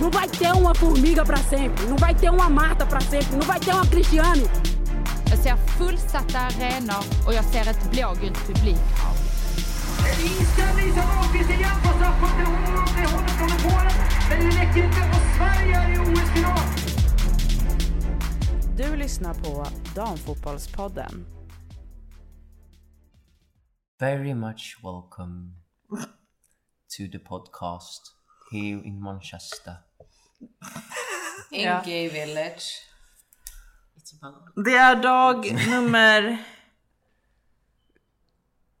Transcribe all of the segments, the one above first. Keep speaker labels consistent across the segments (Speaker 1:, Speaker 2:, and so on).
Speaker 1: Não vai ter uma formiga para sempre, não vai ter uma Marta para sempre, não vai ter uma Cristiane.
Speaker 2: Jag ser fullsatta arenor och jag ser ett blågult publikhav.
Speaker 3: Inställning som Ahlqvist igen på straffpunkten. Hon håller från Polen, men det räcker inte. Och Sverige är i OS-final.
Speaker 4: Du lyssnar på Damfotbollspodden.
Speaker 5: very much welcome to the podcast here in Manchester.
Speaker 6: In
Speaker 4: Ja.
Speaker 6: gay village. It's about...
Speaker 4: Det är dag nummer,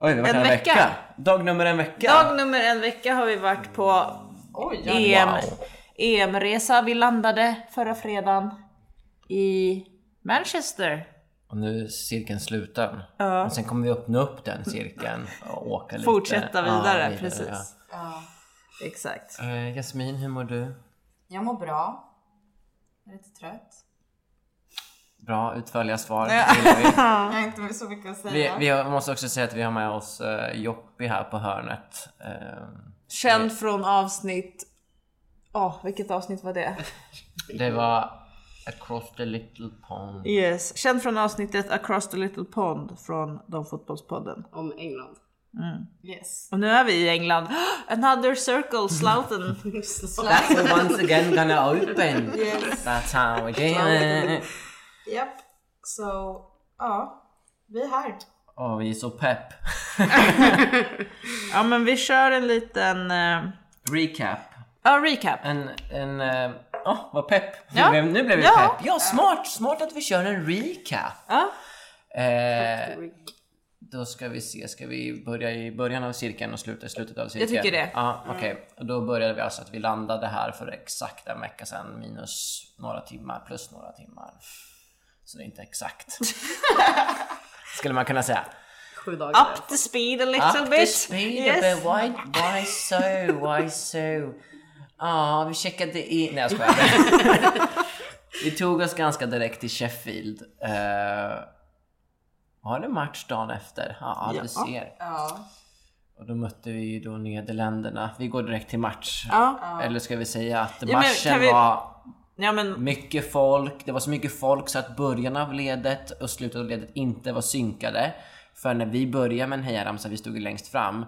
Speaker 5: Oj, det var
Speaker 4: En
Speaker 5: en vecka.
Speaker 4: vecka.
Speaker 5: Dag nummer en vecka.
Speaker 4: dag nummer en vecka har vi varit på E
Speaker 6: Oj,
Speaker 4: EM, EM-resa. Vi landade förra fredagen i Manchester.
Speaker 5: Och nu är cirkeln sluten. Och sen kommer vi öppna upp den cirkeln och åka lite.
Speaker 4: Fortsätta
Speaker 5: Ja,
Speaker 4: vidare, precis.
Speaker 6: Ja.
Speaker 4: Exakt.
Speaker 5: ja. Eh, Jasmin, hur mår du?
Speaker 6: Jag mår bra. Jag är lite trött.
Speaker 5: Bra, utförliga svar.
Speaker 4: Ja.
Speaker 5: gillar vi.
Speaker 6: Jag har inte så mycket att
Speaker 5: Vi,
Speaker 6: säga.
Speaker 5: vi har- måste också säga att vi har med oss eh, Joppi här på hörnet. Eh,
Speaker 4: Känd från avsnitt... Åh, vilket avsnitt var det?
Speaker 5: det var Across the Little Pond.
Speaker 4: Yes, känd från avsnittet Across the Little Pond från Damfotbollspodden.
Speaker 7: om England.
Speaker 6: Yes.
Speaker 4: Och nu är vi i England. Another circle, Slouten.
Speaker 5: So once again gonna open. That's how we do it.
Speaker 6: Japp. Så, ja. Vi är här.
Speaker 5: Åh, vi är så pepp.
Speaker 4: Ja men vi kör en liten... eh,
Speaker 5: Recap.
Speaker 4: Ja, recap.
Speaker 5: En, en, eh, åh vad pepp.
Speaker 4: Ja.
Speaker 5: Nu blev, nu blev vi
Speaker 4: Ja.
Speaker 5: pepp. Ja, smart, smart att vi kör en recap.
Speaker 4: Ja.
Speaker 5: Eh, då ska vi se, ska vi börja i början av cirkeln och sluta i slutet av cirkeln?
Speaker 4: tycker det. Mm.
Speaker 5: Ja, okej. Och Då började vi alltså att vi landade här för exakt en vecka sedan, minus några timmar, plus några timmar. Så det är inte exakt. Skulle man kunna säga.
Speaker 7: Sju dagar.
Speaker 4: Up to speed a little
Speaker 5: Up
Speaker 4: bit.
Speaker 5: to speed a bit. Why, why so? Why so? Ja, vi checkade in... Nej, jag skojar. vi tog oss ganska direkt till Sheffield. Uh, var det match dagen efter? Ja, ah, du ser.
Speaker 6: Ja.
Speaker 5: Och då mötte vi ju då Nederländerna. Vi går direkt till match.
Speaker 4: Ja.
Speaker 5: Eller ska vi säga att
Speaker 4: men
Speaker 5: matchen
Speaker 4: kan vi-
Speaker 5: var
Speaker 4: Ja men
Speaker 5: mycket folk, det var så mycket folk så att början av ledet och slutet av ledet inte var synkade. För när vi började med en hejaramsa, vi stod ju längst fram,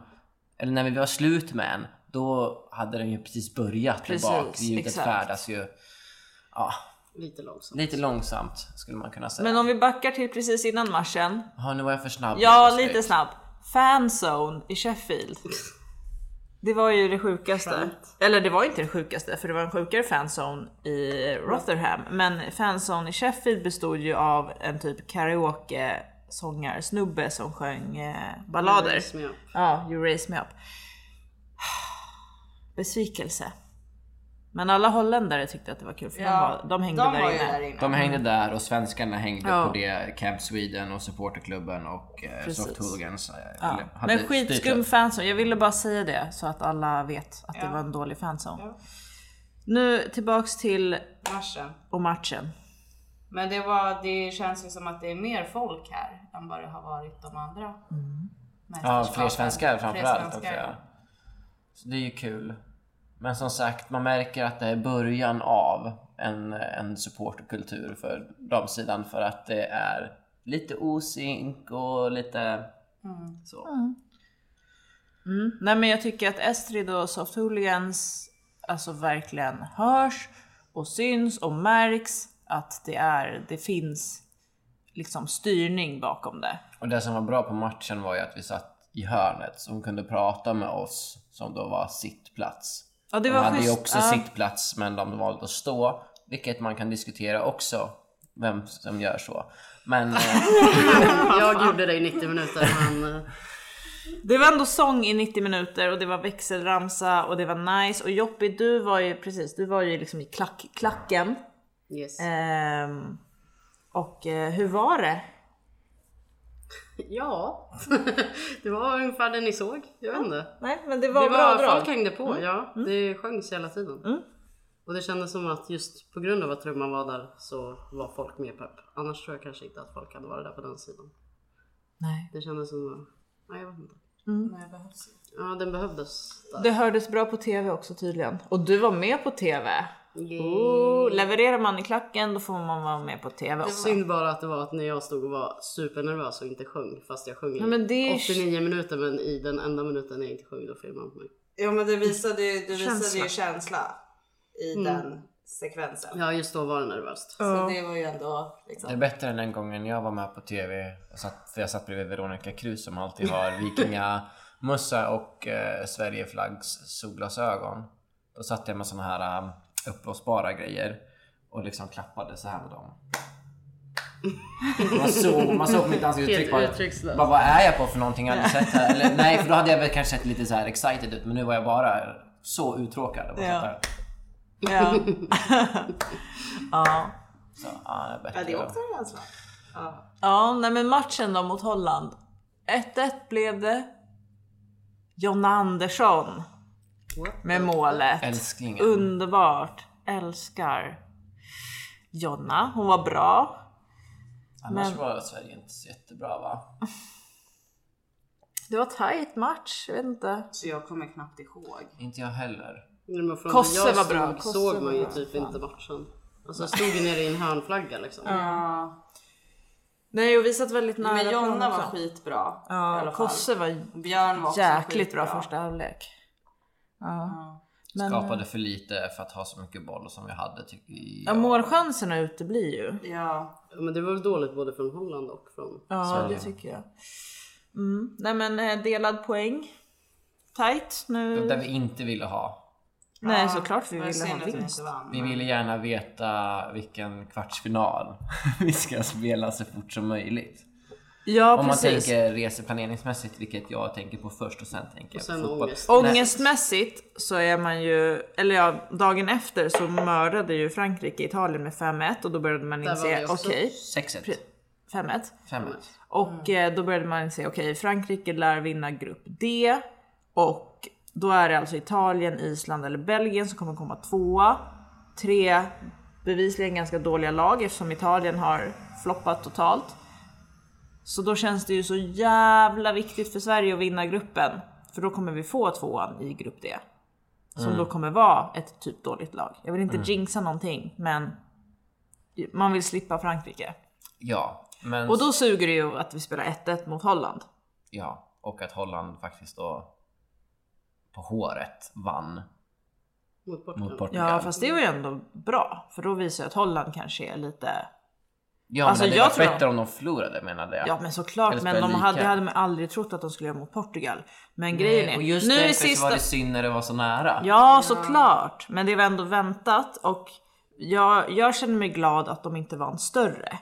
Speaker 5: eller när vi var slut med en, då hade den ju precis börjat
Speaker 4: Precis,
Speaker 5: bak. Ljudet
Speaker 4: exakt.
Speaker 5: färdas ju ja,
Speaker 7: Lite långsamt.
Speaker 5: lite långsamt skulle man kunna säga.
Speaker 4: Men om vi backar till precis innan matchen.
Speaker 5: Ja, nu var jag för snabb.
Speaker 4: Ja,
Speaker 5: helt plötsligt.
Speaker 4: lite snabb. Fanzone i Sheffield. Det var ju det sjukaste. Eller det var inte det sjukaste, för det var en sjukare fanzone i Rotherham. Men fanzone i Sheffield bestod ju av en typ karaoke snubbe som sjöng eh, ballader.
Speaker 7: Som jag.
Speaker 4: Ja, you raise me up. Besvikelse. Men alla holländare tyckte att det var kul för de, var, de hängde
Speaker 6: de
Speaker 4: där
Speaker 6: var
Speaker 4: inne.
Speaker 6: ju där inne.
Speaker 5: De hängde där och svenskarna hängde
Speaker 4: Ja.
Speaker 5: på det Camp Sweden och supporterklubben och eh,
Speaker 4: Precis.
Speaker 5: Soft Hooligans. eh,
Speaker 4: Ja.
Speaker 5: eller hade
Speaker 4: Men
Speaker 5: styrt upp.
Speaker 4: skitskum fanzone, jag ville bara säga det så att alla vet att det var en dålig fanzone. Nu tillbaks till
Speaker 6: Marschen.
Speaker 4: och matchen.
Speaker 6: Men det, var, det känns ju som att det är mer folk här än vad det har varit de andra.
Speaker 5: Mm. Ja,
Speaker 6: mästerskapen.
Speaker 5: fler svenskar framförallt.
Speaker 6: svenskar.
Speaker 5: också, ja. Så det är ju kul. Men som sagt, man märker att det är början av en, en supporterkultur för damsidan för att det är lite osynk och lite så.
Speaker 4: Mm. Nej men jag tycker att Estrid och Soft Hooligans alltså verkligen hörs och syns och märks att det, är, det finns liksom styrning bakom det.
Speaker 5: Och det som var bra på matchen var ju att vi satt i hörnet så hon kunde prata med oss som då var sittplats.
Speaker 4: Ja, det
Speaker 5: de
Speaker 4: var
Speaker 5: hade ju
Speaker 4: schysst.
Speaker 5: också
Speaker 4: Ja.
Speaker 5: sittplats men de valde att stå, vilket man kan diskutera också, vem som gör så. Men... eh,
Speaker 7: Jag gjorde det i 90 minuter men eh,
Speaker 4: Det var ändå sång i 90 minuter och det var växelramsa och det var nice och Joppi du var ju precis, du var ju liksom i klack, klacken.
Speaker 7: yes.
Speaker 6: Eh.
Speaker 4: Ehm, och eh, hur var det?
Speaker 7: Ja, det var ungefär det ni såg. Jag vet inte.
Speaker 4: Nej men det var
Speaker 7: Det
Speaker 4: bra
Speaker 7: var,
Speaker 4: drag.
Speaker 7: folk hängde på,
Speaker 6: Mm.
Speaker 7: ja. Det sjöngs hela tiden. Och det kändes som att just på grund av att trumman var där så var folk mer pepp. Annars tror jag kanske inte att folk hade varit där på den sidan.
Speaker 4: Nej.
Speaker 7: Det kändes som, nej jag vet inte.
Speaker 6: Nej, det behövs.
Speaker 7: Ja, den behövdes där.
Speaker 4: Det hördes bra på tv också tydligen. Och du var med på tv. Oh, levererar man i klacken då får man vara med på TV också.
Speaker 7: Synd bara att det var att när jag stod och var supernervös och inte sjöng fast jag sjöng i
Speaker 4: Ja, men det är-
Speaker 7: 89 minuter men i den enda minuten jag inte sjöng då filmade man på mig.
Speaker 6: Ja men det visade, ju- det visade
Speaker 4: Känsla.
Speaker 6: ju känsla i den sekvensen.
Speaker 7: Ja just då var det nervöst.
Speaker 6: Så det var ju ändå
Speaker 5: Det är
Speaker 6: liksom.
Speaker 5: bättre än den gången jag var med på TV, jag satt, för jag satt bredvid Veronica Kruse som alltid har vikingamössa och eh, Sverigeflaggs solglasögon. Då satt jag med såna här um, uppblåsbara grejer och liksom klappade så här med dem. Man såg, man såg på mitt ansiktsuttryck
Speaker 7: Helt
Speaker 5: bara,
Speaker 7: uttryckslöst.
Speaker 5: bara, vad är jag på för någonting jag aldrig sett här? Eller, nej, för då hade jag väl kanske sett lite så här excited ut men nu var jag bara så uttråkad. Och bara
Speaker 4: Ja.
Speaker 5: satt där.
Speaker 4: Ja. ja.
Speaker 5: Så, ja, det är bättre.
Speaker 6: Ja, det är också en känsla.
Speaker 4: ja, nej men matchen då mot Holland. 1-1 blev det. Jonna Andersson med målet.
Speaker 5: Älsklingen.
Speaker 4: Underbart. Älskar Jonna. Hon var bra.
Speaker 5: Annars
Speaker 4: Men-
Speaker 5: var Sverige inte så jättebra va?
Speaker 4: Det var tight match. Jag vet inte.
Speaker 6: Så jag kommer knappt ihåg.
Speaker 5: Inte jag heller.
Speaker 7: Nej, men från
Speaker 4: Kosse
Speaker 7: där jag
Speaker 4: var bra,
Speaker 7: stod
Speaker 4: Kosse
Speaker 7: såg man ju
Speaker 4: var bra,
Speaker 7: typ inte matchen. Alltså jag stod ju nere i en hörnflagga liksom.
Speaker 6: Ja.
Speaker 4: Nej, och vi satt väldigt nära.
Speaker 6: Men
Speaker 4: på
Speaker 6: Jonna
Speaker 4: honom
Speaker 6: var
Speaker 4: också.
Speaker 6: skitbra i
Speaker 4: Ja,
Speaker 6: alla fall.
Speaker 4: Kosse var
Speaker 6: Björn var också
Speaker 4: jäkligt bra
Speaker 6: skitbra.
Speaker 4: första halvlek. Ja. Men,
Speaker 5: Skapade för lite för att ha så mycket boll som vi hade tycker
Speaker 4: Ja,
Speaker 5: jag.
Speaker 4: målchanserna uteblir ju.
Speaker 6: Ja.
Speaker 7: Ja, Men det var väl dåligt både från Holland och från...
Speaker 4: Ja,
Speaker 5: Sverige.
Speaker 4: det tycker jag. Mm. Nej men eh, delad poäng. Tight nu.
Speaker 5: Där vi inte ville ha.
Speaker 4: Nej
Speaker 6: Ja,
Speaker 4: såklart vi
Speaker 6: det var
Speaker 4: ville ha
Speaker 6: synd att vi inte
Speaker 4: vinst.
Speaker 6: vann.
Speaker 5: Vi ville gärna veta vilken kvartsfinal vi ska spela så fort som möjligt.
Speaker 4: Ja
Speaker 5: Om man
Speaker 4: precis.
Speaker 5: tänker reseplaneringsmässigt, vilket jag tänker på först och sen tänker jag
Speaker 7: Och sen
Speaker 5: på fotboll.
Speaker 7: ångest.
Speaker 4: Ångestmässigt så är man ju, eller ja, dagen efter så mördade ju Frankrike Italien med 5-1 och då började man
Speaker 7: Där var
Speaker 4: inse
Speaker 7: vi också.
Speaker 4: okej,
Speaker 5: 6-1.
Speaker 4: 5-1.
Speaker 5: 5-1.
Speaker 4: Och eh, då började man se, okej Frankrike lär vinna grupp D och då är det alltså Italien, Island eller Belgien som kommer komma tvåa. Tre bevisligen ganska dåliga lag eftersom Italien har floppat totalt. Så då känns det ju så jävla viktigt för Sverige att vinna gruppen för då kommer vi få tvåan i grupp D. Som då kommer vara ett typ dåligt lag. Jag vill inte jinxa någonting men man vill slippa Frankrike.
Speaker 5: Ja, men...
Speaker 4: Och då suger det ju att vi spelar 1-1 mot Holland.
Speaker 5: Ja, och att Holland faktiskt då på håret vann
Speaker 7: Mot Portugal.
Speaker 5: mot Portugal.
Speaker 4: Ja fast det var ju ändå bra för då visar jag att Holland kanske är lite
Speaker 5: Ja, men
Speaker 4: Alltså,
Speaker 5: det
Speaker 4: jag
Speaker 5: var
Speaker 4: tror-
Speaker 5: bättre om de förlorade menade jag.
Speaker 4: Ja men såklart
Speaker 5: Eller
Speaker 4: men
Speaker 5: spela
Speaker 4: de
Speaker 5: lika.
Speaker 4: hade, hade man aldrig trott att de skulle göra mot Portugal. Men grejen
Speaker 5: Nej,
Speaker 4: är,
Speaker 5: och just
Speaker 4: nu
Speaker 5: därför
Speaker 4: i
Speaker 5: så
Speaker 4: sista...
Speaker 5: var det synd när det var så nära.
Speaker 4: Ja såklart men det var ändå väntat och jag, jag känner mig glad att de inte vann större.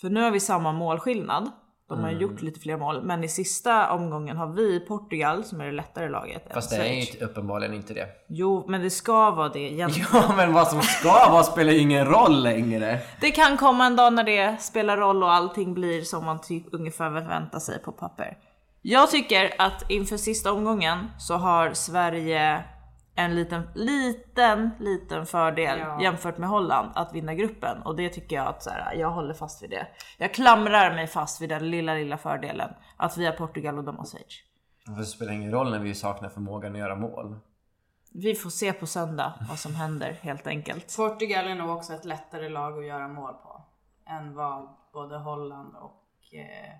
Speaker 4: För nu har vi samma målskillnad. De har ju
Speaker 5: Mm.
Speaker 4: gjort lite fler mål men i sista omgången har vi Portugal som är det lättare laget. än
Speaker 5: Fast det är
Speaker 4: Schweiz.
Speaker 5: ju typ uppenbarligen inte det.
Speaker 4: Jo men det ska vara det egentligen.
Speaker 5: Ja men vad som ska vara spelar ju ingen roll längre.
Speaker 4: Det kan komma en dag när det spelar roll och allting blir som man ty- ungefär förväntar sig på papper. Jag tycker att inför sista omgången så har Sverige en liten, liten, liten fördel jämfört med Holland att vinna gruppen och det tycker jag att så här, jag håller fast vid det. Jag klamrar mig fast vid den lilla, lilla fördelen att vi har Portugal och de har Schweiz.
Speaker 5: Det spelar ingen roll när vi saknar förmågan att göra mål.
Speaker 4: Vi får se på söndag vad som händer helt enkelt.
Speaker 6: Portugal är nog också ett lättare lag att göra mål på än vad både Holland och eh,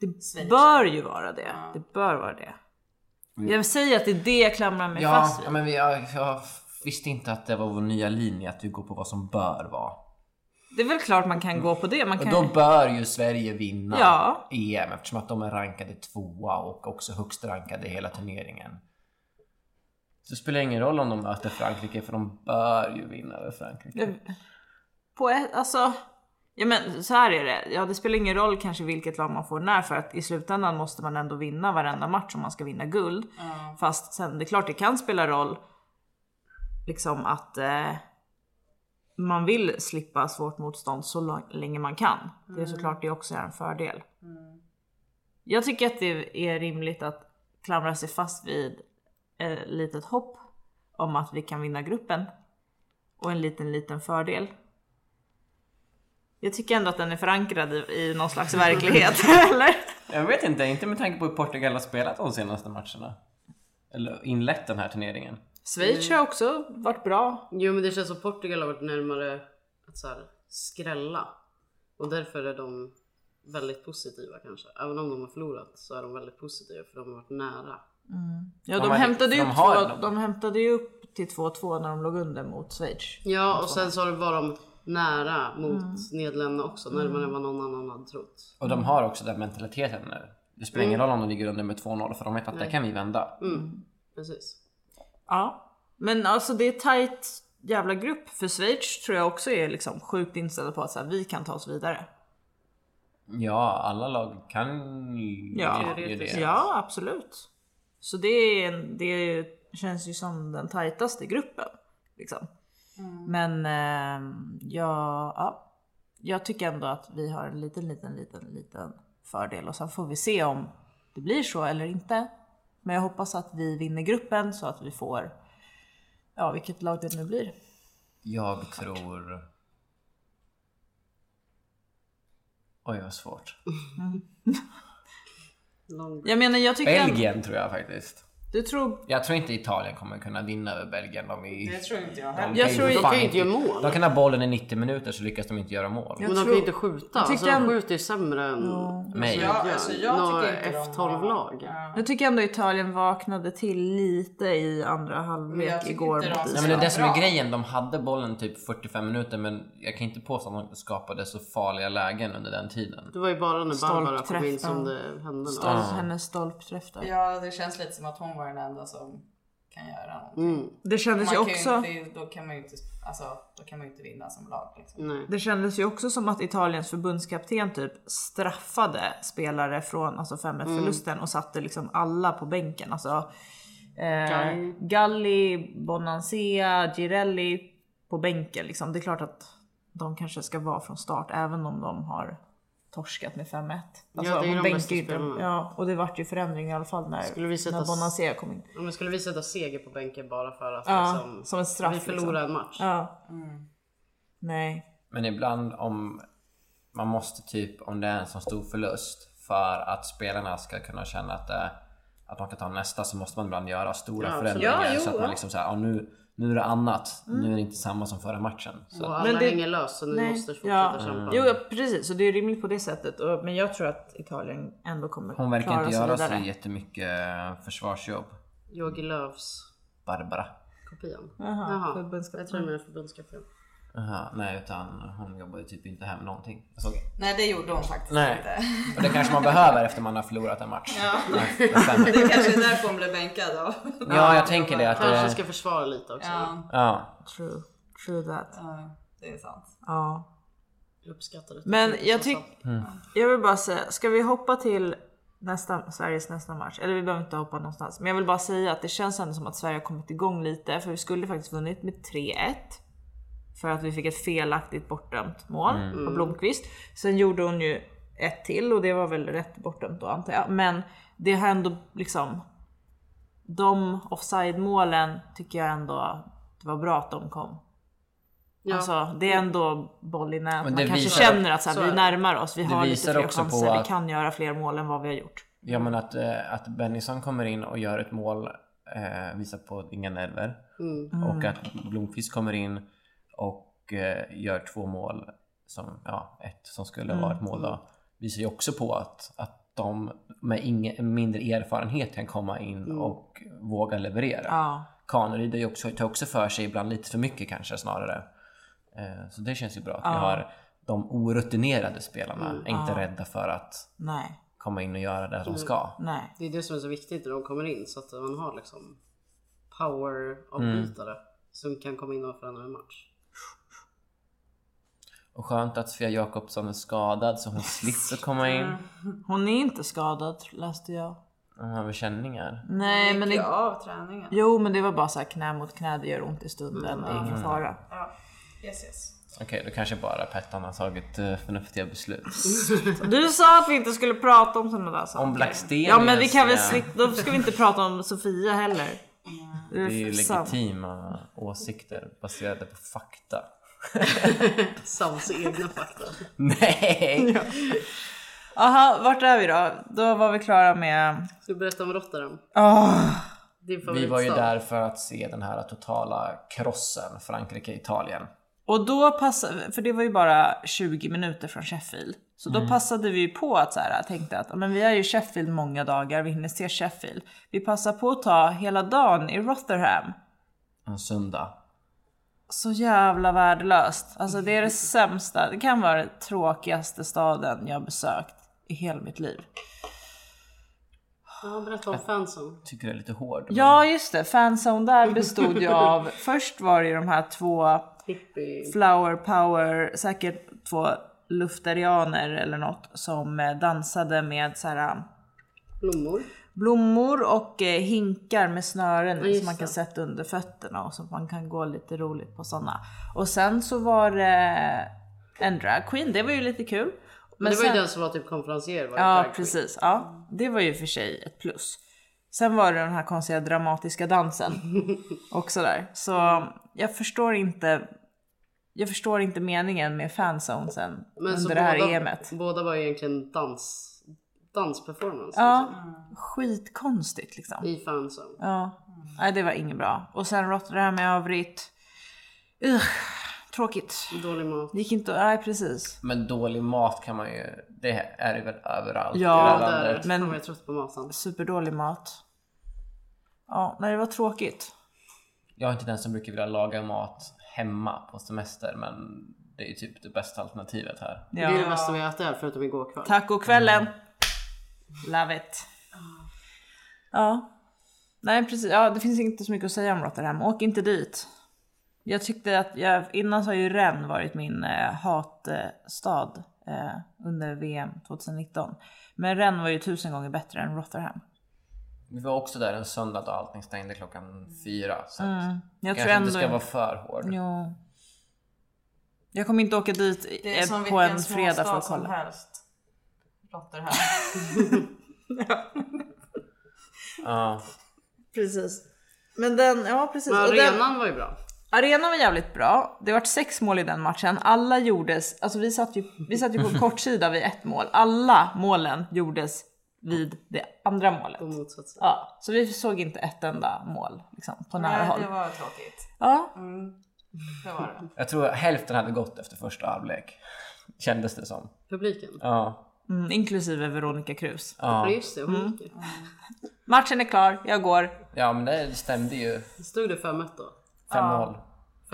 Speaker 4: Det
Speaker 6: Schweiz.
Speaker 4: bör ju vara det. Det bör vara det.
Speaker 5: Mm.
Speaker 4: Jag säger att det är det jag klamrar mig
Speaker 5: Ja,
Speaker 4: fast vid.
Speaker 5: ja, men vi, jag, jag visste inte att det var vår nya linje att vi går på vad som bör vara.
Speaker 4: Det är väl klart man kan gå på det. Man
Speaker 5: Och
Speaker 4: kan...
Speaker 5: då bör ju Sverige vinna
Speaker 4: Ja.
Speaker 5: EM eftersom att de är rankade tvåa och också högst rankade i hela turneringen. Så det spelar ingen roll om de möter Frankrike för de bör ju vinna över Frankrike.
Speaker 4: på ett, alltså, ja men så här är det. Ja, det spelar ingen roll kanske vilket lag man får när för att i slutändan måste man ändå vinna varenda match om man ska vinna guld. Fast sen det är klart det kan spela roll liksom att eh, man vill slippa svårt motstånd så lång- länge man kan. Det är såklart det också är en fördel. Jag tycker att det är rimligt att klamra sig fast vid ett litet hopp om att vi kan vinna gruppen och en liten, liten fördel. Jag tycker ändå att den är förankrad i, i någon slags verklighet, eller?
Speaker 5: Jag vet inte, inte med tanke på hur Portugal har spelat de senaste matcherna. Eller inlett den här turneringen.
Speaker 4: Schweiz har också varit bra.
Speaker 7: Jo men det känns som Portugal har varit närmare att så här, skrälla. Och därför är de väldigt positiva kanske. Även om de har förlorat så är de väldigt positiva för de har varit nära.
Speaker 4: Ja, de,
Speaker 5: De har-
Speaker 4: hämtade, ju
Speaker 5: de
Speaker 4: upp
Speaker 5: har
Speaker 4: två,
Speaker 5: dem.
Speaker 4: de hämtade ju upp till 2-2 när de låg under mot Schweiz.
Speaker 7: Ja och sen så var de nära mot
Speaker 4: Mm.
Speaker 7: Nederländerna också. Närmare än vad någon annan hade trott.
Speaker 5: Och de har också den mentaliteten nu. Det spelar ingen roll om de ligger under med 2-0 för de vet att det kan vi vända.
Speaker 7: Precis.
Speaker 4: Ja, men alltså det är tight jävla grupp för Schweiz tror jag också är liksom sjukt inställda på att så här, vi kan ta oss vidare.
Speaker 5: Ja, alla lag kan ju
Speaker 4: Ja,
Speaker 5: ju det.
Speaker 4: ja absolut. Så det, är en, det känns ju som den tajtaste gruppen. Liksom. Men ehm, ja, ja, jag tycker ändå att vi har en liten, liten, liten, liten fördel och sen får vi se om det blir så eller inte. Men jag hoppas att vi vinner gruppen så att vi får, ja vilket lag det nu blir.
Speaker 5: Jag tror... Oj, vad svårt.
Speaker 7: Lång...
Speaker 4: Jag menar jag tycker...
Speaker 5: Belgien tror jag faktiskt.
Speaker 4: Du tror...
Speaker 5: Jag tror inte Italien kommer kunna vinna över Belgien. De är ju...
Speaker 6: Det tror inte jag
Speaker 5: de
Speaker 6: heller.
Speaker 4: Jag
Speaker 5: ju
Speaker 4: tror-
Speaker 5: fan
Speaker 4: de
Speaker 7: kan ju inte göra mål.
Speaker 5: De kan ha bollen i 90 minuter så lyckas de inte göra mål.
Speaker 4: Jag
Speaker 7: Men de
Speaker 4: tror-
Speaker 7: kan ju inte skjuta. Alltså,
Speaker 4: tyckte
Speaker 7: de
Speaker 4: en-
Speaker 7: skjuter ju sämre än
Speaker 5: Nej.
Speaker 6: Ja, alltså jag
Speaker 7: några
Speaker 6: tycker inte de har-
Speaker 7: F12-lag.
Speaker 4: Jag tycker ändå Italien vaknade till lite i andra
Speaker 6: jag
Speaker 4: halvlek
Speaker 6: tycker
Speaker 4: igår
Speaker 6: inte de
Speaker 4: mot
Speaker 6: ska-
Speaker 5: Nej, men det är det som är
Speaker 6: Bra.
Speaker 5: grejen. De hade bollen typ 45 minuter men jag kan inte påstå att de inte skapade så farliga lägen under den tiden.
Speaker 7: Det var ju bara när Barbara kom in
Speaker 4: Stolpträff, ja.
Speaker 7: som det hände något.
Speaker 4: Stolp, hennes stolpträff där.
Speaker 6: Ja, det känns lite som att hon var den enda som kan göra något.
Speaker 4: Det kändes
Speaker 6: Man
Speaker 4: ju
Speaker 6: kan ju
Speaker 4: också...
Speaker 6: inte, då, kan man ju inte, alltså, då kan man ju inte vinna som lag. Liksom.
Speaker 7: Nej.
Speaker 4: Det kändes ju också som att Italiens förbundskapten typ straffade spelare från alltså 5-1 förlusten
Speaker 7: Mm.
Speaker 4: och satte liksom alla på bänken. Alltså, eh,
Speaker 7: Galli.
Speaker 4: Galli, Bonansea, Girelli på bänken. Liksom. Det är klart att de kanske ska vara från start även om de har torskat med 5-1. Alltså,
Speaker 7: Ja,
Speaker 4: man
Speaker 7: det är de
Speaker 4: bänkar
Speaker 7: bästa
Speaker 4: ju inte dem.
Speaker 7: spelarna.
Speaker 4: Ja, och det vart ju förändring i alla fall
Speaker 7: Skulle vi
Speaker 4: när,
Speaker 7: sätta
Speaker 4: när
Speaker 7: s- liksom-
Speaker 4: Bonansea kom in.
Speaker 7: Om jag skulle vi sätta seger på bänken bara för att
Speaker 4: Ja,
Speaker 7: liksom,
Speaker 4: som en straff,
Speaker 7: vi förlorar
Speaker 4: liksom.
Speaker 7: en match.
Speaker 4: Ja.
Speaker 5: Mm.
Speaker 4: Nej.
Speaker 5: Men ibland om man måste typ, om det är en så stor förlust för att spelarna ska kunna känna att, det, att de kan ta nästa så måste man ibland göra stora
Speaker 7: absolut.
Speaker 5: förändringar
Speaker 4: Ja,
Speaker 5: så
Speaker 4: jo,
Speaker 5: att
Speaker 4: ja. Mm.
Speaker 5: man liksom såhär, ja, nu, nu är det annat, nu är det inte samma som förra matchen. Så
Speaker 7: Och
Speaker 5: att,
Speaker 7: alla
Speaker 4: Men det-
Speaker 7: hänger lös så ni
Speaker 4: Nej.
Speaker 7: måste fortsätta
Speaker 4: Ja. Mm.
Speaker 7: kämpa.
Speaker 4: Jo ja, precis, så det är rimligt på det sättet. Och, men jag tror att Italien ändå kommer
Speaker 5: hon verkar
Speaker 4: klara
Speaker 5: inte
Speaker 4: sig
Speaker 5: göra så
Speaker 4: vidare.
Speaker 5: jättemycket eh, försvarsjobb,
Speaker 7: Yogi Lööfs
Speaker 5: Barbara.
Speaker 7: kopian.
Speaker 4: Jaha,
Speaker 7: Jaha.
Speaker 4: förbundskapten.
Speaker 7: Jag tror jag menar förbundskapten.
Speaker 5: Aha, nej, utan hon jobbar ju typ inte hem någonting. Jag såg.
Speaker 6: Nej, det gjorde hon faktiskt
Speaker 5: Nej.
Speaker 6: inte.
Speaker 5: Och det kanske man behöver efter man har förlorat en match. Nej, det stämmer.
Speaker 6: Det kanske är därför hon blev bänkad då.
Speaker 5: ja, jag tänker det. Att
Speaker 7: Kanske
Speaker 5: det
Speaker 7: ska försvara lite också.
Speaker 6: Ja,
Speaker 5: ja.
Speaker 4: True. True that.
Speaker 6: ja, det är sant.
Speaker 4: Ja.
Speaker 7: Jag uppskattar det.
Speaker 4: Men jag
Speaker 7: Som Mm.
Speaker 4: tycker... Jag vill bara säga, ska vi hoppa till nästa, Sveriges nästa match? Eller vi behöver inte hoppa någonstans. Men jag vill bara säga att det känns ändå som att Sverige har kommit igång lite. För vi skulle faktiskt vunnit med 3-1. För att vi fick ett felaktigt bortdömt mål
Speaker 7: Mm.
Speaker 4: av Blomqvist. Sen gjorde hon ju ett till och det var väl rätt bortdömt då antar jag. Men det har ändå liksom... De offside-målen tycker jag ändå det var bra att de kom.
Speaker 7: Ja.
Speaker 4: Alltså, det är ändå boll i nät.
Speaker 5: Men
Speaker 4: Man
Speaker 5: det
Speaker 4: kanske
Speaker 5: visar-
Speaker 4: känner att så här,
Speaker 7: så är
Speaker 4: vi
Speaker 7: det.
Speaker 4: närmar oss, vi
Speaker 5: Det
Speaker 4: har lite
Speaker 5: visar
Speaker 4: fler
Speaker 5: också på
Speaker 4: chanser, vi
Speaker 5: att-
Speaker 4: kan göra fler mål än vad vi har gjort.
Speaker 5: ja, men att, eh, att Bennison kommer in och gör ett mål eh, visar på inga nerver.
Speaker 7: Mm.
Speaker 4: Mm.
Speaker 5: Och att Blomqvist kommer in och eh, gör två mål, som, ja, ett som skulle vara ett mål då, visar ju också på att, att de med ingen, mindre erfarenhet kan komma in och våga leverera.
Speaker 4: Ja.
Speaker 5: Kaneryd är ju också, tar också för sig ibland lite för mycket kanske snarare. Eh, Så det känns ju bra att vi har de orutinerade spelarna
Speaker 4: Mm,
Speaker 5: är inte rädda för att
Speaker 4: Nej,
Speaker 5: komma in och göra det
Speaker 4: Mm.
Speaker 5: de ska.
Speaker 4: nej.
Speaker 7: Det är det som är så viktigt när de kommer in så att man har liksom
Speaker 5: Mm.
Speaker 7: power-avbytare som kan komma in och förändra en match.
Speaker 5: Och skönt att Sofia Jakobsson är skadad så hon slipper komma in.
Speaker 4: Hon är inte skadad läste jag.
Speaker 5: Hon har väl känningar.
Speaker 4: Nej men
Speaker 6: Gick ju
Speaker 4: det,
Speaker 6: av träningen.
Speaker 4: jo men det var bara så här knä mot knä, det gör ont i stunden, det är ingen
Speaker 5: Mm.
Speaker 4: fara.
Speaker 6: Yes, yes.
Speaker 5: Okej, då kanske bara Pettan har tagit eh, förnuftiga beslut.
Speaker 4: Mm. Du sa att vi inte skulle prata om sådana där saker.
Speaker 5: Om Blackstenius.
Speaker 4: Ja men vi kan väl
Speaker 5: eh,
Speaker 4: slippa, då ska vi inte prata om Sofia heller. Det
Speaker 5: Det är ju
Speaker 4: sant.
Speaker 5: legitima åsikter baserade på fakta.
Speaker 7: Sams egna fakta.
Speaker 5: Nej!
Speaker 4: Aha, vart är vi då? Då var vi klara med...
Speaker 7: Ska du berätta om Rotterdam?
Speaker 4: Åh,
Speaker 7: Din
Speaker 5: Vi
Speaker 7: favoritstad.
Speaker 5: var ju där för att se den här totala krossen Frankrike-Italien.
Speaker 4: Och då passade, för det var ju bara 20 minuter från Sheffield. Så då passade vi ju på att så här, tänkte att "Ja, men vi är ju i Sheffield många dagar, vi hinner se Sheffield. Vi passar på att ta hela dagen i Rotherham.
Speaker 5: En söndag.
Speaker 4: Så jävla värdelöst. Alltså det är det sämsta, det kan vara den tråkigaste staden jag besökt i hela mitt liv.
Speaker 7: Ja, berätta om fansen.
Speaker 5: Tycker jag är lite hård. men-
Speaker 4: Ja just det, fanzone där bestod ju av, först var det ju de här två
Speaker 7: Hippie.
Speaker 4: flower power, säkert två luftarianer eller något som eh, dansade med så här,
Speaker 7: Blommor.
Speaker 4: blommor och eh, hinkar med snören i
Speaker 7: just
Speaker 4: som man kan
Speaker 7: det.
Speaker 4: sätta under fötterna och så att man kan gå lite roligt på sådana. Och sen så var det en drag queen, det var ju lite kul. Men
Speaker 7: det var
Speaker 4: sen-
Speaker 7: ju den som var typ konferencier. Var ju drag
Speaker 4: Ja
Speaker 7: queen.
Speaker 4: precis, ja. det var ju för sig ett plus. Sen var det den här konstiga dramatiska dansen också där. Så jag förstår inte, jag förstår inte meningen med fansonesen
Speaker 7: Men så
Speaker 4: under det här
Speaker 7: båda,
Speaker 4: EMet.
Speaker 7: båda var ju egentligen dans, dansperformance
Speaker 4: Ja, skitkonstigt liksom.
Speaker 7: liksom, i fansen.
Speaker 4: Ja, nej det var inget bra. Och sen Rotterdam i övrigt, Ugh, tråkigt.
Speaker 7: Dålig mat.
Speaker 4: Det gick inte, nej precis.
Speaker 5: Men dålig mat kan man ju... Det är det väl överallt
Speaker 4: Ja,
Speaker 5: i
Speaker 7: Ja,
Speaker 5: det här
Speaker 7: där.
Speaker 5: landet.
Speaker 4: men-
Speaker 7: Men... Fan vad jag är trött på maten.
Speaker 4: Superdålig mat. Ja, nej det var tråkigt.
Speaker 5: Jag är inte den som brukar vilja laga mat hemma på semester men det är ju typ det bästa alternativet här.
Speaker 4: Ja.
Speaker 7: Det är det bästa vi ätit här förutom igår kväll.
Speaker 4: Tacokvällen. Love it. Ja. Nej precis, ja, det finns inte så mycket att säga om Rotterdam. Åk inte dit. Jag tyckte att, jag, innan så har ju Rennes varit min eh, hatstad eh, under VM 2019. Men Rennes var ju tusen gånger bättre än Rotterdam.
Speaker 5: Vi var också där en söndag då allting stängde klockan fyra så att
Speaker 4: Mm. Jag tror
Speaker 5: kanske
Speaker 4: ändå...
Speaker 5: inte ska vara för hård.
Speaker 4: Jo. Jag kommer inte åka dit i-
Speaker 6: Det är som
Speaker 4: eh, på
Speaker 6: vilken
Speaker 4: en
Speaker 6: småstad
Speaker 4: fredag för att
Speaker 6: som
Speaker 4: kolla.
Speaker 6: helst. Rotherham.
Speaker 5: Ja.
Speaker 4: Precis. Men den, ja precis.
Speaker 7: Men
Speaker 4: Och den-
Speaker 7: arenan var ju bra.
Speaker 4: Arenan var jävligt bra. Det vart sex mål i den matchen. Alla gjordes, alltså vi satt ju, vi satt ju på kortsida vid ett mål. Alla målen gjordes vid det andra målet.
Speaker 7: På motsatsen.
Speaker 4: Ja, så vi såg inte ett enda mål liksom, på nära
Speaker 6: Nej,
Speaker 4: håll.
Speaker 6: det var tråkigt.
Speaker 4: Ja,
Speaker 6: Det var det.
Speaker 5: Jag tror hälften hade gått efter första halvlek. Kändes det som.
Speaker 7: Publiken.
Speaker 5: Ja.
Speaker 4: mm, inklusive Veronica Cruz.
Speaker 7: Ja
Speaker 5: Ja,
Speaker 7: just det,
Speaker 4: Mm.
Speaker 7: hon gick ju.
Speaker 4: Matchen är klar, jag går.
Speaker 5: ja men det stämde ju. 5-0.
Speaker 7: Stod det 5-1 då?
Speaker 6: Ja,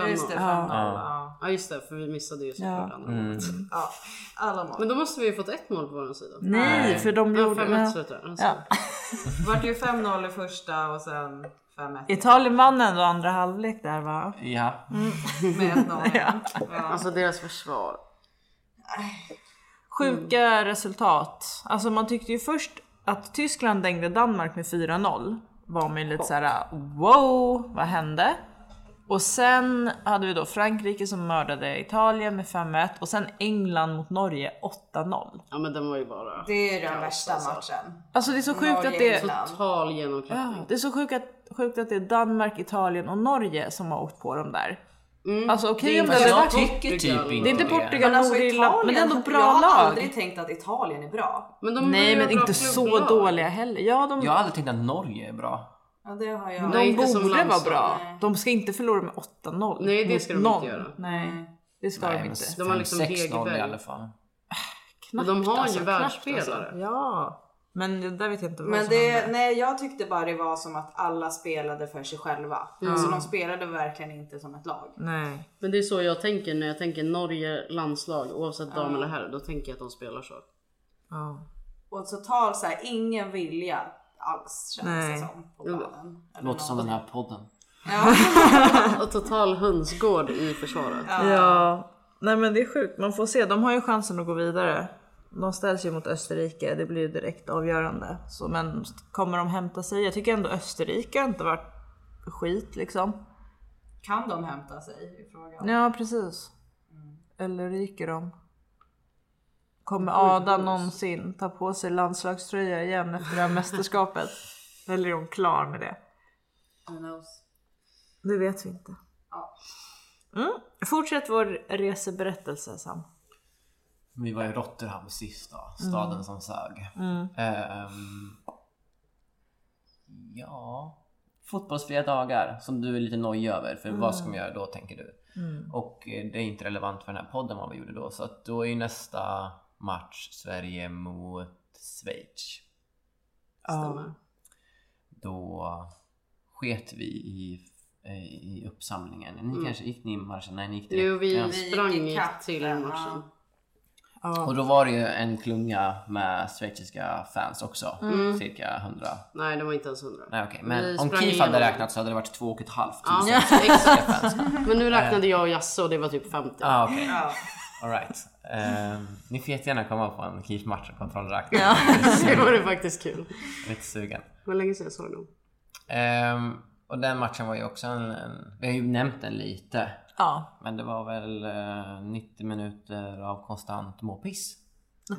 Speaker 6: Just det,
Speaker 7: 5-0.
Speaker 6: 5-0. Ja.
Speaker 7: Ja just det, för vi missade ju såklart
Speaker 4: Ja.
Speaker 7: andra målet.
Speaker 6: Ja. Alla mål.
Speaker 7: Men då måste vi ju fått ett mål på vår sida.
Speaker 4: Nej, för de
Speaker 7: Ja,
Speaker 4: gjorde...
Speaker 7: 5-1
Speaker 4: Ja.
Speaker 7: slutar det. Alltså.
Speaker 4: Ja.
Speaker 6: Det vart ju 5-0 i första och sen 5-1
Speaker 4: Italien vann ändå andra halvlek där va?
Speaker 5: Ja.
Speaker 6: med 1-0. ja.
Speaker 7: alltså deras försvar.
Speaker 4: sjuka resultat. Alltså man tyckte ju först att Tyskland dängde Danmark med 4-0. Var man ju lite såhär wow, vad hände? Och sen hade vi då Frankrike som mördade Italien med 5-1 och sen England mot Norge 8-0.
Speaker 7: Ja men den var ju bara
Speaker 6: Det är den värsta matchen.
Speaker 4: Alltså det är så sjukt att det
Speaker 6: Norge.
Speaker 7: total genomklappning.
Speaker 4: det är så sjukt att, sjukt att det är Danmark, Italien och Norge som har åkt på dem där.
Speaker 7: Mm.
Speaker 6: Mm.
Speaker 4: Alltså okej om det
Speaker 5: Fast
Speaker 4: hade
Speaker 5: jag
Speaker 4: varit...
Speaker 5: tycker typ inte
Speaker 4: Det är inte Portugal,
Speaker 6: Men
Speaker 4: men,
Speaker 6: alltså
Speaker 4: Nordirland,
Speaker 6: Italien,
Speaker 4: men det är ändå
Speaker 6: jag
Speaker 4: bra
Speaker 6: har
Speaker 4: lag.
Speaker 6: aldrig tänkt att Italien är bra.
Speaker 7: Men de var
Speaker 4: Nej
Speaker 7: ju
Speaker 4: men
Speaker 7: bra
Speaker 4: inte så
Speaker 7: klubblag.
Speaker 4: dåliga heller. Ja, de,
Speaker 5: Jag har aldrig tänkt att Norge är bra.
Speaker 6: Ja, det har jag.
Speaker 7: Nej,
Speaker 4: De
Speaker 7: inte som
Speaker 4: borde vara
Speaker 7: landslag,
Speaker 4: bra.
Speaker 6: nej.
Speaker 4: De ska inte förlora med 8-0.
Speaker 7: Nej, det
Speaker 4: mot
Speaker 7: ska de inte
Speaker 4: någon.
Speaker 7: göra.
Speaker 4: Nej, det ska
Speaker 5: Nej,
Speaker 4: de
Speaker 5: men
Speaker 4: inte.
Speaker 7: De har liksom
Speaker 5: 5-6-0
Speaker 7: Hegerberg.
Speaker 5: i alla fall.
Speaker 7: Men de har ju
Speaker 4: Alltså, knappt,
Speaker 7: världsspelare.
Speaker 4: Alltså. Ja, men det där vet jag inte vad
Speaker 6: Men
Speaker 4: som
Speaker 6: det,
Speaker 4: hände.
Speaker 6: nej, jag tyckte bara det var som att alla spelade för sig själva.
Speaker 4: Mm.
Speaker 6: Alltså de spelade verkligen inte som ett lag.
Speaker 4: Nej.
Speaker 7: Men det är så jag tänker när jag tänker Norge landslag oavsett dam eller herr. Då tänker jag att de spelar så.
Speaker 4: Ja.
Speaker 6: Och totalt så här, ingen vilja alls känns
Speaker 4: Nej.
Speaker 6: det som på planen. Eller
Speaker 5: Låter som
Speaker 6: något.
Speaker 5: den här podden.
Speaker 7: Och total hönsgård i försvaret.
Speaker 4: ja, nej men det är sjukt. Man får se. De har ju chansen att gå vidare. De ställs ju mot Österrike. Det blir ju direkt avgörande. Så, men kommer de hämta sig? Jag tycker ändå Österrike har inte varit skit liksom.
Speaker 6: Kan de hämta sig i frågan?
Speaker 4: Ja, precis. Eller ryker de? Kommer Adam någonsin ta på sig landslagströja igen efter det här mästerskapet? Eller är hon klar med det?
Speaker 6: Who knows?
Speaker 4: Det vet vi inte.
Speaker 6: Ja.
Speaker 4: Mm. Fortsätt vår reseberättelse Sam.
Speaker 5: Vi var i Rotterdam sist då, staden
Speaker 7: Mm.
Speaker 5: som sög. Ehm, ja, fotbollsfria dagar som du är lite nojig över för vad
Speaker 7: Mm.
Speaker 5: ska man göra då tänker du. Och eh, det är inte relevant för den här podden vad vi gjorde då så att då är ju nästa match Sverige mot Schweiz.
Speaker 4: Ja.
Speaker 5: Då sket vi i, eh, i uppsamlingen. Ni kanske gick ni i marschen? Nej, ni gick direkt.
Speaker 7: Mm. Jo, vi
Speaker 5: Ja.
Speaker 6: gick
Speaker 7: sprang
Speaker 6: ikapp
Speaker 7: till
Speaker 6: den,
Speaker 7: matchen.
Speaker 5: Och då var det ju en klunga med schweiziska fans också. Cirka 100.
Speaker 7: Nej, det var inte ens hundra.
Speaker 5: Nej okej,
Speaker 7: Mm. Vi
Speaker 5: men om
Speaker 7: sprang
Speaker 5: KIF hade
Speaker 7: igenom.
Speaker 5: räknat så hade det varit två och ett halvt
Speaker 7: Ja,
Speaker 5: tusen.
Speaker 7: exakt. Men nu räknade jag och Jasse och det var typ 50.
Speaker 5: Ah, okej.
Speaker 6: Ja.
Speaker 5: Alright. Ehm, ni får jättegärna komma på en KIF-match och kontrollräkna.
Speaker 7: Det var det faktiskt kul.
Speaker 5: Lite sugen.
Speaker 7: Hur länge sedan jag såg dem?
Speaker 5: Ehm, och den matchen var ju också en, en... Vi har ju nämnt den lite.
Speaker 4: ja.
Speaker 5: Men det var väl eh, 90 minuter av konstant måpiss.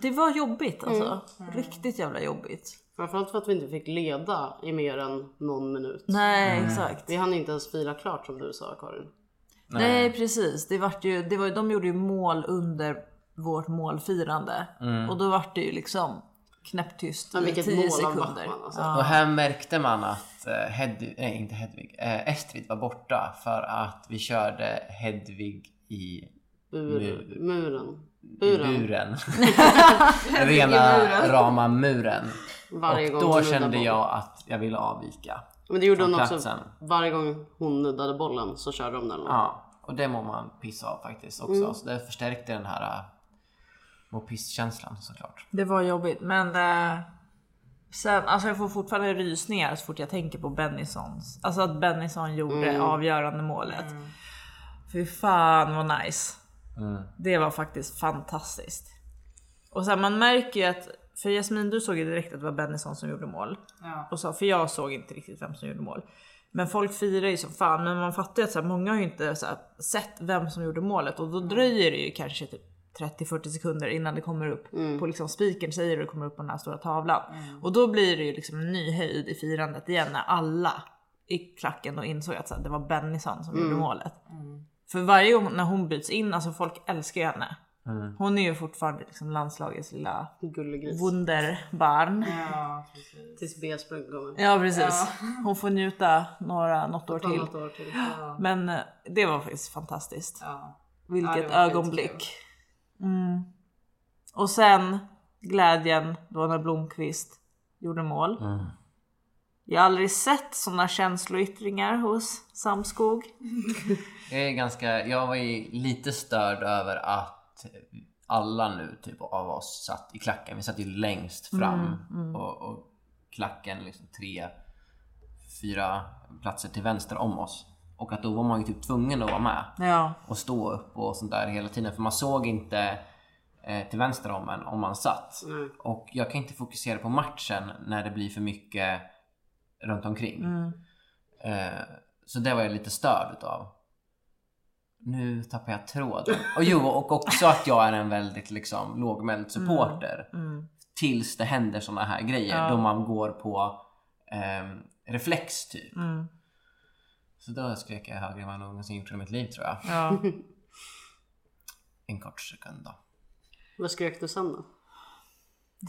Speaker 4: Det var jobbigt alltså. Riktigt jävla jobbigt.
Speaker 7: Framförallt för att vi inte fick leda i mer än någon minut.
Speaker 4: Nej exakt.
Speaker 7: Vi hann inte ens fira klart som du sa Karin.
Speaker 4: Nej, precis. Det vart ju, det var, ju- de gjorde ju mål under vårt målfirande och då vart det ju liksom knäpptyst
Speaker 7: Men
Speaker 4: i
Speaker 7: vilket
Speaker 4: 10
Speaker 7: mål av
Speaker 4: sekunder.
Speaker 7: Backman alltså.
Speaker 5: Och här märkte man att eh, Hedvig, nej inte Hedvig, eh, Estrid var borta för att vi körde Hedvig i
Speaker 7: Bur, muren.
Speaker 5: buren.
Speaker 7: Buren.
Speaker 5: buren. Rena rama muren.
Speaker 7: Varje
Speaker 5: och
Speaker 7: gång
Speaker 5: då
Speaker 7: hon
Speaker 5: kände
Speaker 7: nuddar
Speaker 5: jag att jag ville avvika.
Speaker 7: Men det gjorde
Speaker 5: från
Speaker 7: hon också.
Speaker 5: platsen.
Speaker 7: Varje gång hon nuddade bollen så körde de den.
Speaker 5: Ja, och det mår man piss av faktiskt också.
Speaker 7: Mm.
Speaker 5: Så det förstärkte den här eh, må piss-känslan såklart.
Speaker 4: Det var jobbigt men eh, sen, alltså jag får fortfarande rysningar så fort jag tänker på Bennysons. Alltså att Bennison gjorde
Speaker 7: Mm.
Speaker 4: avgörande målet. Fy fan vad nice. Det var faktiskt fantastiskt. Och sen man märker ju att, för Jasmin du såg ju direkt att det var Bennison som gjorde mål.
Speaker 6: Ja.
Speaker 4: Och så, för jag såg inte riktigt vem som gjorde mål. Men folk firar ju som fan, men man fattar ju att så här, många har ju inte så här, sett vem som gjorde målet och då dröjer det ju kanske typ 30-40 sekunder innan det kommer upp på liksom spiken säger det kommer upp på den här stora tavlan. Och då blir det ju liksom en ny höjd i firandet igen när alla i klacken då insåg att så här, det var Bennison som gjorde målet. För varje gång när hon byts in, alltså folk älskar ju henne. Hon är ju fortfarande liksom landslagets lilla
Speaker 7: Gullegris.
Speaker 4: wunderbarn.
Speaker 6: ja, precis.
Speaker 7: Tills B-sprung kommer.
Speaker 4: Ja precis. Hon får njuta några, något år
Speaker 7: Till.
Speaker 4: till.
Speaker 7: Något år till.
Speaker 4: Men eh, det var faktiskt fantastiskt.
Speaker 6: Ja. Ja,
Speaker 4: Vilket
Speaker 6: det var skitkul.
Speaker 4: ögonblick. Mm. Och sen glädjen då när Blomqvist gjorde mål. Jag har aldrig sett sådana känsloyttringar hos Samskog.
Speaker 5: Jag, är ganska, jag var ju lite störd över att alla nu typ av oss satt i klacken. Vi satt ju längst fram Och, och klacken liksom tre, fyra platser till vänster om oss. Och att då var man ju typ tvungen att vara med
Speaker 4: Ja.
Speaker 5: och stå upp och sånt där hela tiden. För man såg inte eh, till vänster om en om man satt.
Speaker 7: Nej.
Speaker 5: Och jag kan inte fokusera på matchen när det blir för mycket runt
Speaker 4: Mm.
Speaker 5: omkring. Eh, så det var jag lite störd utav. Nu tappar jag tråden. Och jo, och också att jag är en väldigt liksom lågmäld
Speaker 4: Mm.
Speaker 5: supporter. Tills det händer såna här grejer då man går på ehm, reflex typ.
Speaker 4: mm.
Speaker 5: Så då skrek jag högre än vad jag någonsin gjort i mitt liv tror jag.
Speaker 4: ja.
Speaker 5: En kort sekund då.
Speaker 7: Vad skrek du sen då?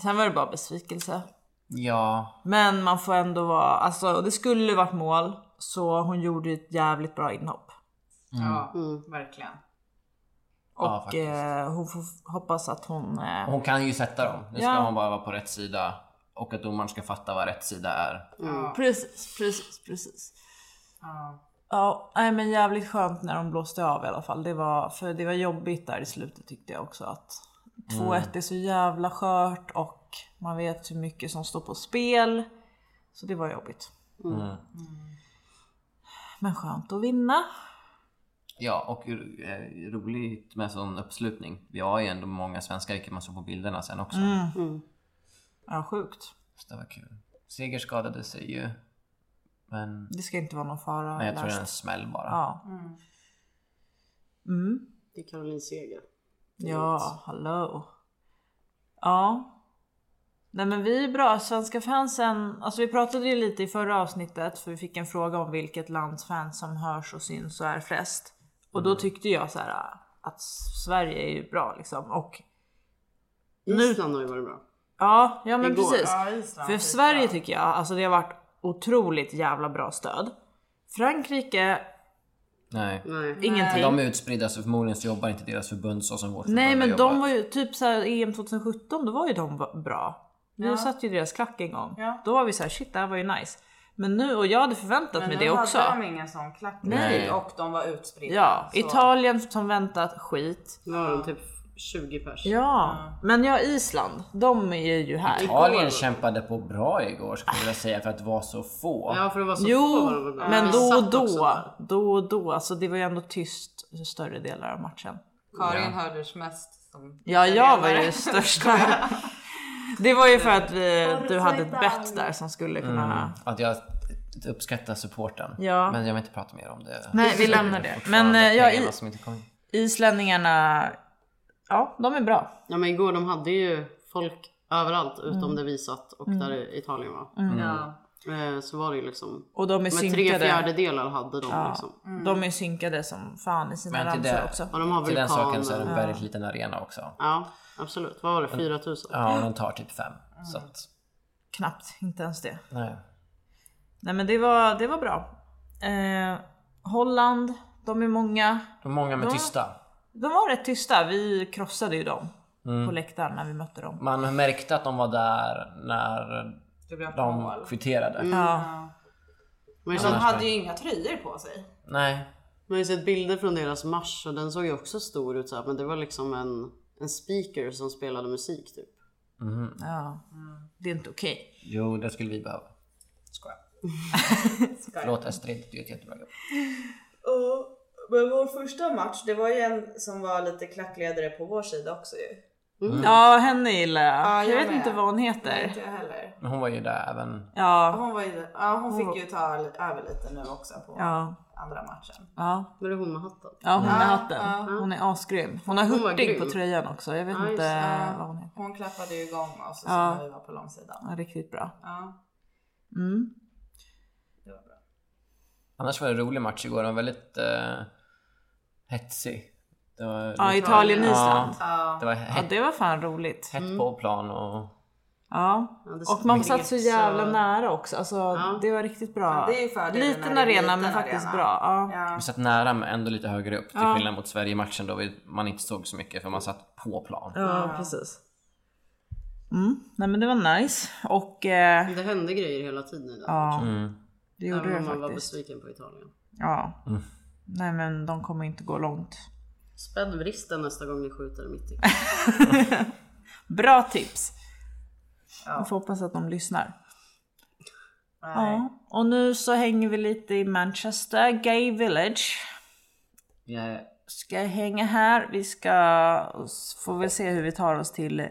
Speaker 4: Sen var det bara besvikelse.
Speaker 5: Ja,
Speaker 4: Men man får ändå vara, alltså det skulle varit mål så hon gjorde ju ett jävligt bra inhopp.
Speaker 6: Ja, verkligen.
Speaker 5: Ja,
Speaker 4: Och
Speaker 5: faktiskt.
Speaker 4: eh, hon får hoppas att hon... Eh,
Speaker 5: hon kan ju sätta dem. Nu ska
Speaker 4: Ja.
Speaker 5: hon bara vara på rätt sida. Och att domaren ska fatta vad rätt sida är.
Speaker 4: Mm. Precis, precis, precis.
Speaker 6: Ja.
Speaker 4: Ja, nej, men jävligt skönt när de blåste av i alla fall. Det var, för det var jobbigt där i slutet tyckte jag också att 2-1
Speaker 5: Mm.
Speaker 4: är så jävla skört och man vet hur mycket som står på spel. Så det var jobbigt.
Speaker 5: Mm.
Speaker 4: Men skönt att vinna.
Speaker 5: Ja, och eh, roligt med sån uppslutning. Vi har ju ändå många svenskar, vilket man såg på bilderna sen också.
Speaker 4: Mm. Ja, sjukt.
Speaker 5: Så det var kul. Seger skadade sig ju. Men
Speaker 4: Det ska inte vara någon fara.
Speaker 5: nej, jag tror det
Speaker 4: Lars.
Speaker 5: är en smäll bara.
Speaker 4: Ja. Mm.
Speaker 7: Det är Caroline Seger.
Speaker 4: Ja, hallå. Ja. Nej men vi är bra, svenska fansen, alltså vi pratade ju lite i förra avsnittet för vi fick en fråga om vilket lands fans som hörs och syns och är flest. Och
Speaker 6: Mm.
Speaker 4: då tyckte jag så här att Sverige är ju bra liksom och
Speaker 7: Island har ju varit bra.
Speaker 4: ja, ja men
Speaker 7: Igår.
Speaker 4: precis.
Speaker 6: Ja, Island.
Speaker 4: För Sverige tycker jag, alltså det har varit otroligt jävla bra stöd. Frankrike,
Speaker 5: Nej.
Speaker 7: Nej.
Speaker 4: ingenting.
Speaker 5: De är utspridda så förmodligen så jobbar inte deras förbund så som vårt
Speaker 4: Nej
Speaker 5: förbund har
Speaker 4: men de
Speaker 5: jobbat.
Speaker 4: var ju typ så här EM 2017, då var ju de va- bra. Nu
Speaker 6: Ja.
Speaker 4: satt ju deras klack en gång.
Speaker 6: Ja.
Speaker 4: Då var vi så här, shit det här var ju nice. Men nu, och jag hade förväntat mig det också.
Speaker 6: hade de ingen sån klack
Speaker 5: Nej.
Speaker 6: och de var utspridda.
Speaker 4: Ja,
Speaker 6: så-
Speaker 4: Italien som väntat, skit.
Speaker 7: Nu har de typ 20 pers.
Speaker 4: Ja, men ja Island, de är ju här.
Speaker 5: Italien kämpade på bra igår skulle jag vilja säga för att vara så få.
Speaker 7: Ja, för det var så få
Speaker 4: Jo,
Speaker 7: var de väl.
Speaker 4: men
Speaker 7: Vi
Speaker 4: då och
Speaker 7: satt också
Speaker 4: då,
Speaker 7: där.
Speaker 4: då och då, alltså det var ju ändå tyst större delar av matchen.
Speaker 6: Karin
Speaker 5: Ja.
Speaker 6: hördes mest som
Speaker 4: Ja, jag var ju största. Det var ju för att vi, du hade ett bett där som skulle kunna...
Speaker 5: Att jag uppskattar supporten.
Speaker 4: Ja.
Speaker 5: Men jag vill inte prata mer om det.
Speaker 4: Nej, vi lämnar det. Men eh, ja,
Speaker 5: jag
Speaker 4: i,
Speaker 5: som inte kom. in.
Speaker 4: islänningarna, ja de är bra.
Speaker 7: Ja men igår de hade ju folk överallt utom
Speaker 4: Mm.
Speaker 7: där vi satt och där Italien var.
Speaker 5: Mm.
Speaker 6: Ja.
Speaker 7: Eh, Så var det ju liksom.
Speaker 4: Och de är
Speaker 7: Men tre
Speaker 4: Mm. synkade. Mm.
Speaker 7: fjärdedelar hade de liksom.
Speaker 4: De är synkade som fan i sina
Speaker 5: Mm. Men till
Speaker 4: ramsor
Speaker 5: det-
Speaker 4: också.
Speaker 7: Och de har eh,
Speaker 5: Till den saken så är det
Speaker 7: vulkaner.
Speaker 5: en väldigt liten arena också.
Speaker 7: Ja absolut. Vad var det? 4000?
Speaker 5: Ja, och de tar typ fem. Så att,
Speaker 4: Knappt, inte ens det.
Speaker 5: nej.
Speaker 4: Nej men det var, det var bra. Eh, Holland, de är många.
Speaker 5: De är många men tysta.
Speaker 4: De var rätt tysta, vi krossade ju dem
Speaker 5: Mm.
Speaker 4: på läktaren när vi mötte dem.
Speaker 5: Man märkte att de var där när
Speaker 6: Det blev
Speaker 5: de
Speaker 6: mål.
Speaker 5: kvitterade.
Speaker 4: Ja.
Speaker 7: Man har ju
Speaker 6: De
Speaker 7: sett-
Speaker 6: hade ju inga tröjor på sig.
Speaker 5: Nej.
Speaker 7: man har ju sett bilder från deras marsch och den såg ju också stor ut så här, men det var liksom en, en speaker som spelade musik typ.
Speaker 4: ja.
Speaker 6: Mm.
Speaker 4: Det är inte okej.
Speaker 5: Jo, det skulle vi behöva. Skoja. Förlåt Astrid, du gör ett jättebra jobb.
Speaker 8: Och, men vår första match, det var ju en som var lite klackledare på vår sida också ju.
Speaker 5: Mm.
Speaker 4: Ja henne gillar jag.
Speaker 6: Ja, jag
Speaker 4: jag vet
Speaker 6: med.
Speaker 4: inte vad hon heter.
Speaker 6: Inte jag heller.
Speaker 5: Men hon var ju där även...
Speaker 4: Ja,
Speaker 6: Hon, var ju, ja, hon fick ju ta l- över lite nu också på
Speaker 4: ja,
Speaker 6: andra matchen.
Speaker 4: ja.
Speaker 7: Var det hon med hatten?
Speaker 4: Ja hon med
Speaker 6: Ja,
Speaker 4: hatten. Hon är asgrym. Hon har
Speaker 7: var
Speaker 4: Hurtig
Speaker 7: grym.
Speaker 4: på tröjan också. Jag vet
Speaker 7: Ja, just
Speaker 4: inte
Speaker 6: det.
Speaker 4: vad hon heter.
Speaker 6: Hon klappade ju igång oss och
Speaker 4: Ja.
Speaker 6: så vi var på långsidan.
Speaker 4: Ja, riktigt bra.
Speaker 6: Ja.
Speaker 4: Mm.
Speaker 5: Annars var det en rolig match igår, den var väldigt eh, hetsig. Det var,
Speaker 4: Ja, Italien-Island.
Speaker 5: Ja, det var
Speaker 4: Ja,
Speaker 5: hett,
Speaker 4: det var fan roligt.
Speaker 5: hett på plan och...
Speaker 4: Ja.
Speaker 7: Ja, det
Speaker 4: Och man
Speaker 7: spreds
Speaker 4: satt så jävla
Speaker 7: och-
Speaker 4: nära också. Alltså, Det var riktigt bra.
Speaker 6: Men det är ju fördelen
Speaker 4: Liten
Speaker 6: när det är
Speaker 4: arena men
Speaker 6: liten
Speaker 4: faktiskt
Speaker 6: arena.
Speaker 4: bra. Ja.
Speaker 6: Ja.
Speaker 5: Vi satt nära men ändå lite högre upp till skillnad mot Sverige-matchen då vi, man inte såg så mycket för man satt på plan.
Speaker 4: ja, precis. Mm. Nej men det var nice. Och eh,
Speaker 7: Det hände grejer hela tiden i den
Speaker 4: ja, det
Speaker 7: Även
Speaker 4: gjorde
Speaker 7: om
Speaker 4: det
Speaker 7: man var
Speaker 4: faktiskt.
Speaker 7: besviken på Italien.
Speaker 4: Ja. Nej men de kommer inte gå långt.
Speaker 7: Spänn vristen nästa gång ni skjuter mitt i.
Speaker 4: Bra tips! Vi får hoppas att de lyssnar. Ja, och nu så hänger vi lite i Manchester, Gay Village.
Speaker 5: Jag-
Speaker 4: Ska hänga här. Vi ska, får väl se hur vi tar oss till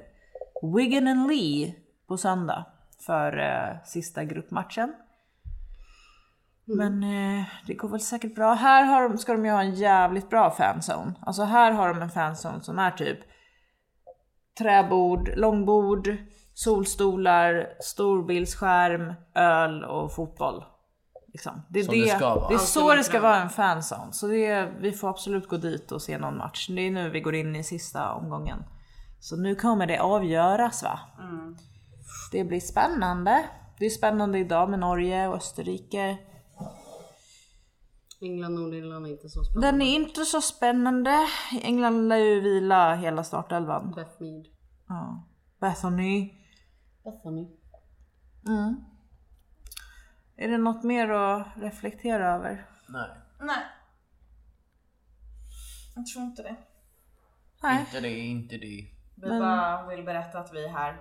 Speaker 4: Wigan and Lee på söndag för eh, sista gruppmatchen.
Speaker 5: Mm.
Speaker 4: Men eh, det går väl säkert bra. Här har de, ska de ju ha en jävligt bra fanzone. Alltså här har de en fanzone som är typ träbord, långbord, solstolar, storbildsskärm, öl och fotboll. Liksom. Det är,
Speaker 5: Som
Speaker 4: det,
Speaker 5: det ska vara.
Speaker 4: det är så det ska vara en fanzone. Så det är, vi får absolut gå dit och se någon match. Det är nu vi går in i sista omgången. Så nu kommer det avgöras va? Det blir spännande. Det är spännande idag med Norge och Österrike.
Speaker 7: England, Nordirland är inte så spännande.
Speaker 4: Den är inte så spännande. England lär ju vila hela startelvan.
Speaker 7: Beth Mead.
Speaker 4: Ja. Bethany.
Speaker 7: Bethany.
Speaker 4: Är det något mer att reflektera över?
Speaker 5: Nej,
Speaker 8: Nej. Jag tror inte det.
Speaker 4: Nej.
Speaker 5: inte det, inte det.
Speaker 6: Vi bara vill berätta att vi är här.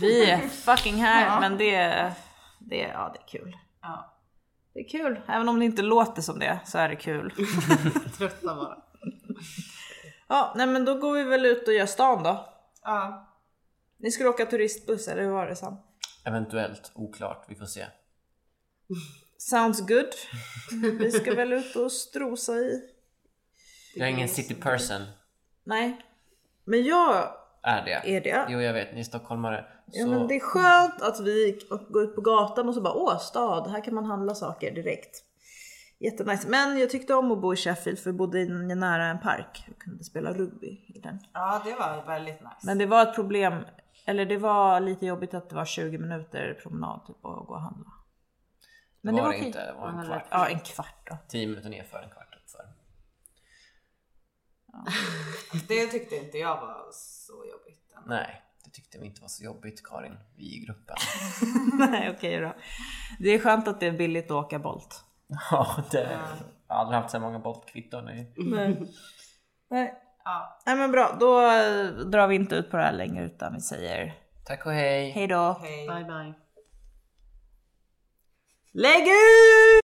Speaker 4: Vi är fucking här men det, det, ja, det är kul.
Speaker 6: Ja.
Speaker 4: Det är kul, även om det inte låter som det så är det kul.
Speaker 7: Trötta bara.
Speaker 4: Ja, nej men då går vi väl ut och gör stan då.
Speaker 6: Ja.
Speaker 4: Ni skulle åka turistbuss eller hur var det Sam?
Speaker 5: Eventuellt, oklart, vi får se.
Speaker 4: Sounds good. Vi ska väl ut och strosa i.
Speaker 5: Jag är ingen city person.
Speaker 4: Nej, men jag
Speaker 5: Är det?
Speaker 4: är det.
Speaker 5: Jo, jag vet, ni är stockholmare. Så...
Speaker 4: Ja, men det är skönt att vi går ut på gatan och så bara åh stad, här kan man handla saker direkt. Jättenice. Men jag tyckte om att bo i Sheffield för jag bodde i- nära en park. Jag kunde spela rugby i den.
Speaker 6: ja, det var väldigt nice.
Speaker 4: Men det var ett problem, eller det var lite jobbigt att det var 20 minuter promenad typ att gå och handla. Men
Speaker 5: var
Speaker 4: det var
Speaker 5: det
Speaker 4: okej.
Speaker 5: inte. Det var en kvart.
Speaker 4: Ja, en kvart då.
Speaker 5: Tio minuter nerför, en kvart uppför.
Speaker 6: Det tyckte inte jag var så jobbigt.
Speaker 5: Nej, det tyckte vi inte var så jobbigt Karin, vi i gruppen.
Speaker 4: Nej, okej då. Det är skönt att det är billigt att åka Bolt.
Speaker 5: ja, det, jag har aldrig haft så här många boltkvitton i
Speaker 4: Nej. Nej.
Speaker 6: Ja.
Speaker 4: Nej men bra, då eh, drar vi inte ut på det här längre utan vi säger
Speaker 5: Tack och hej!
Speaker 4: hej då.
Speaker 6: Hej.
Speaker 7: Bye bye.
Speaker 4: Lägg ut!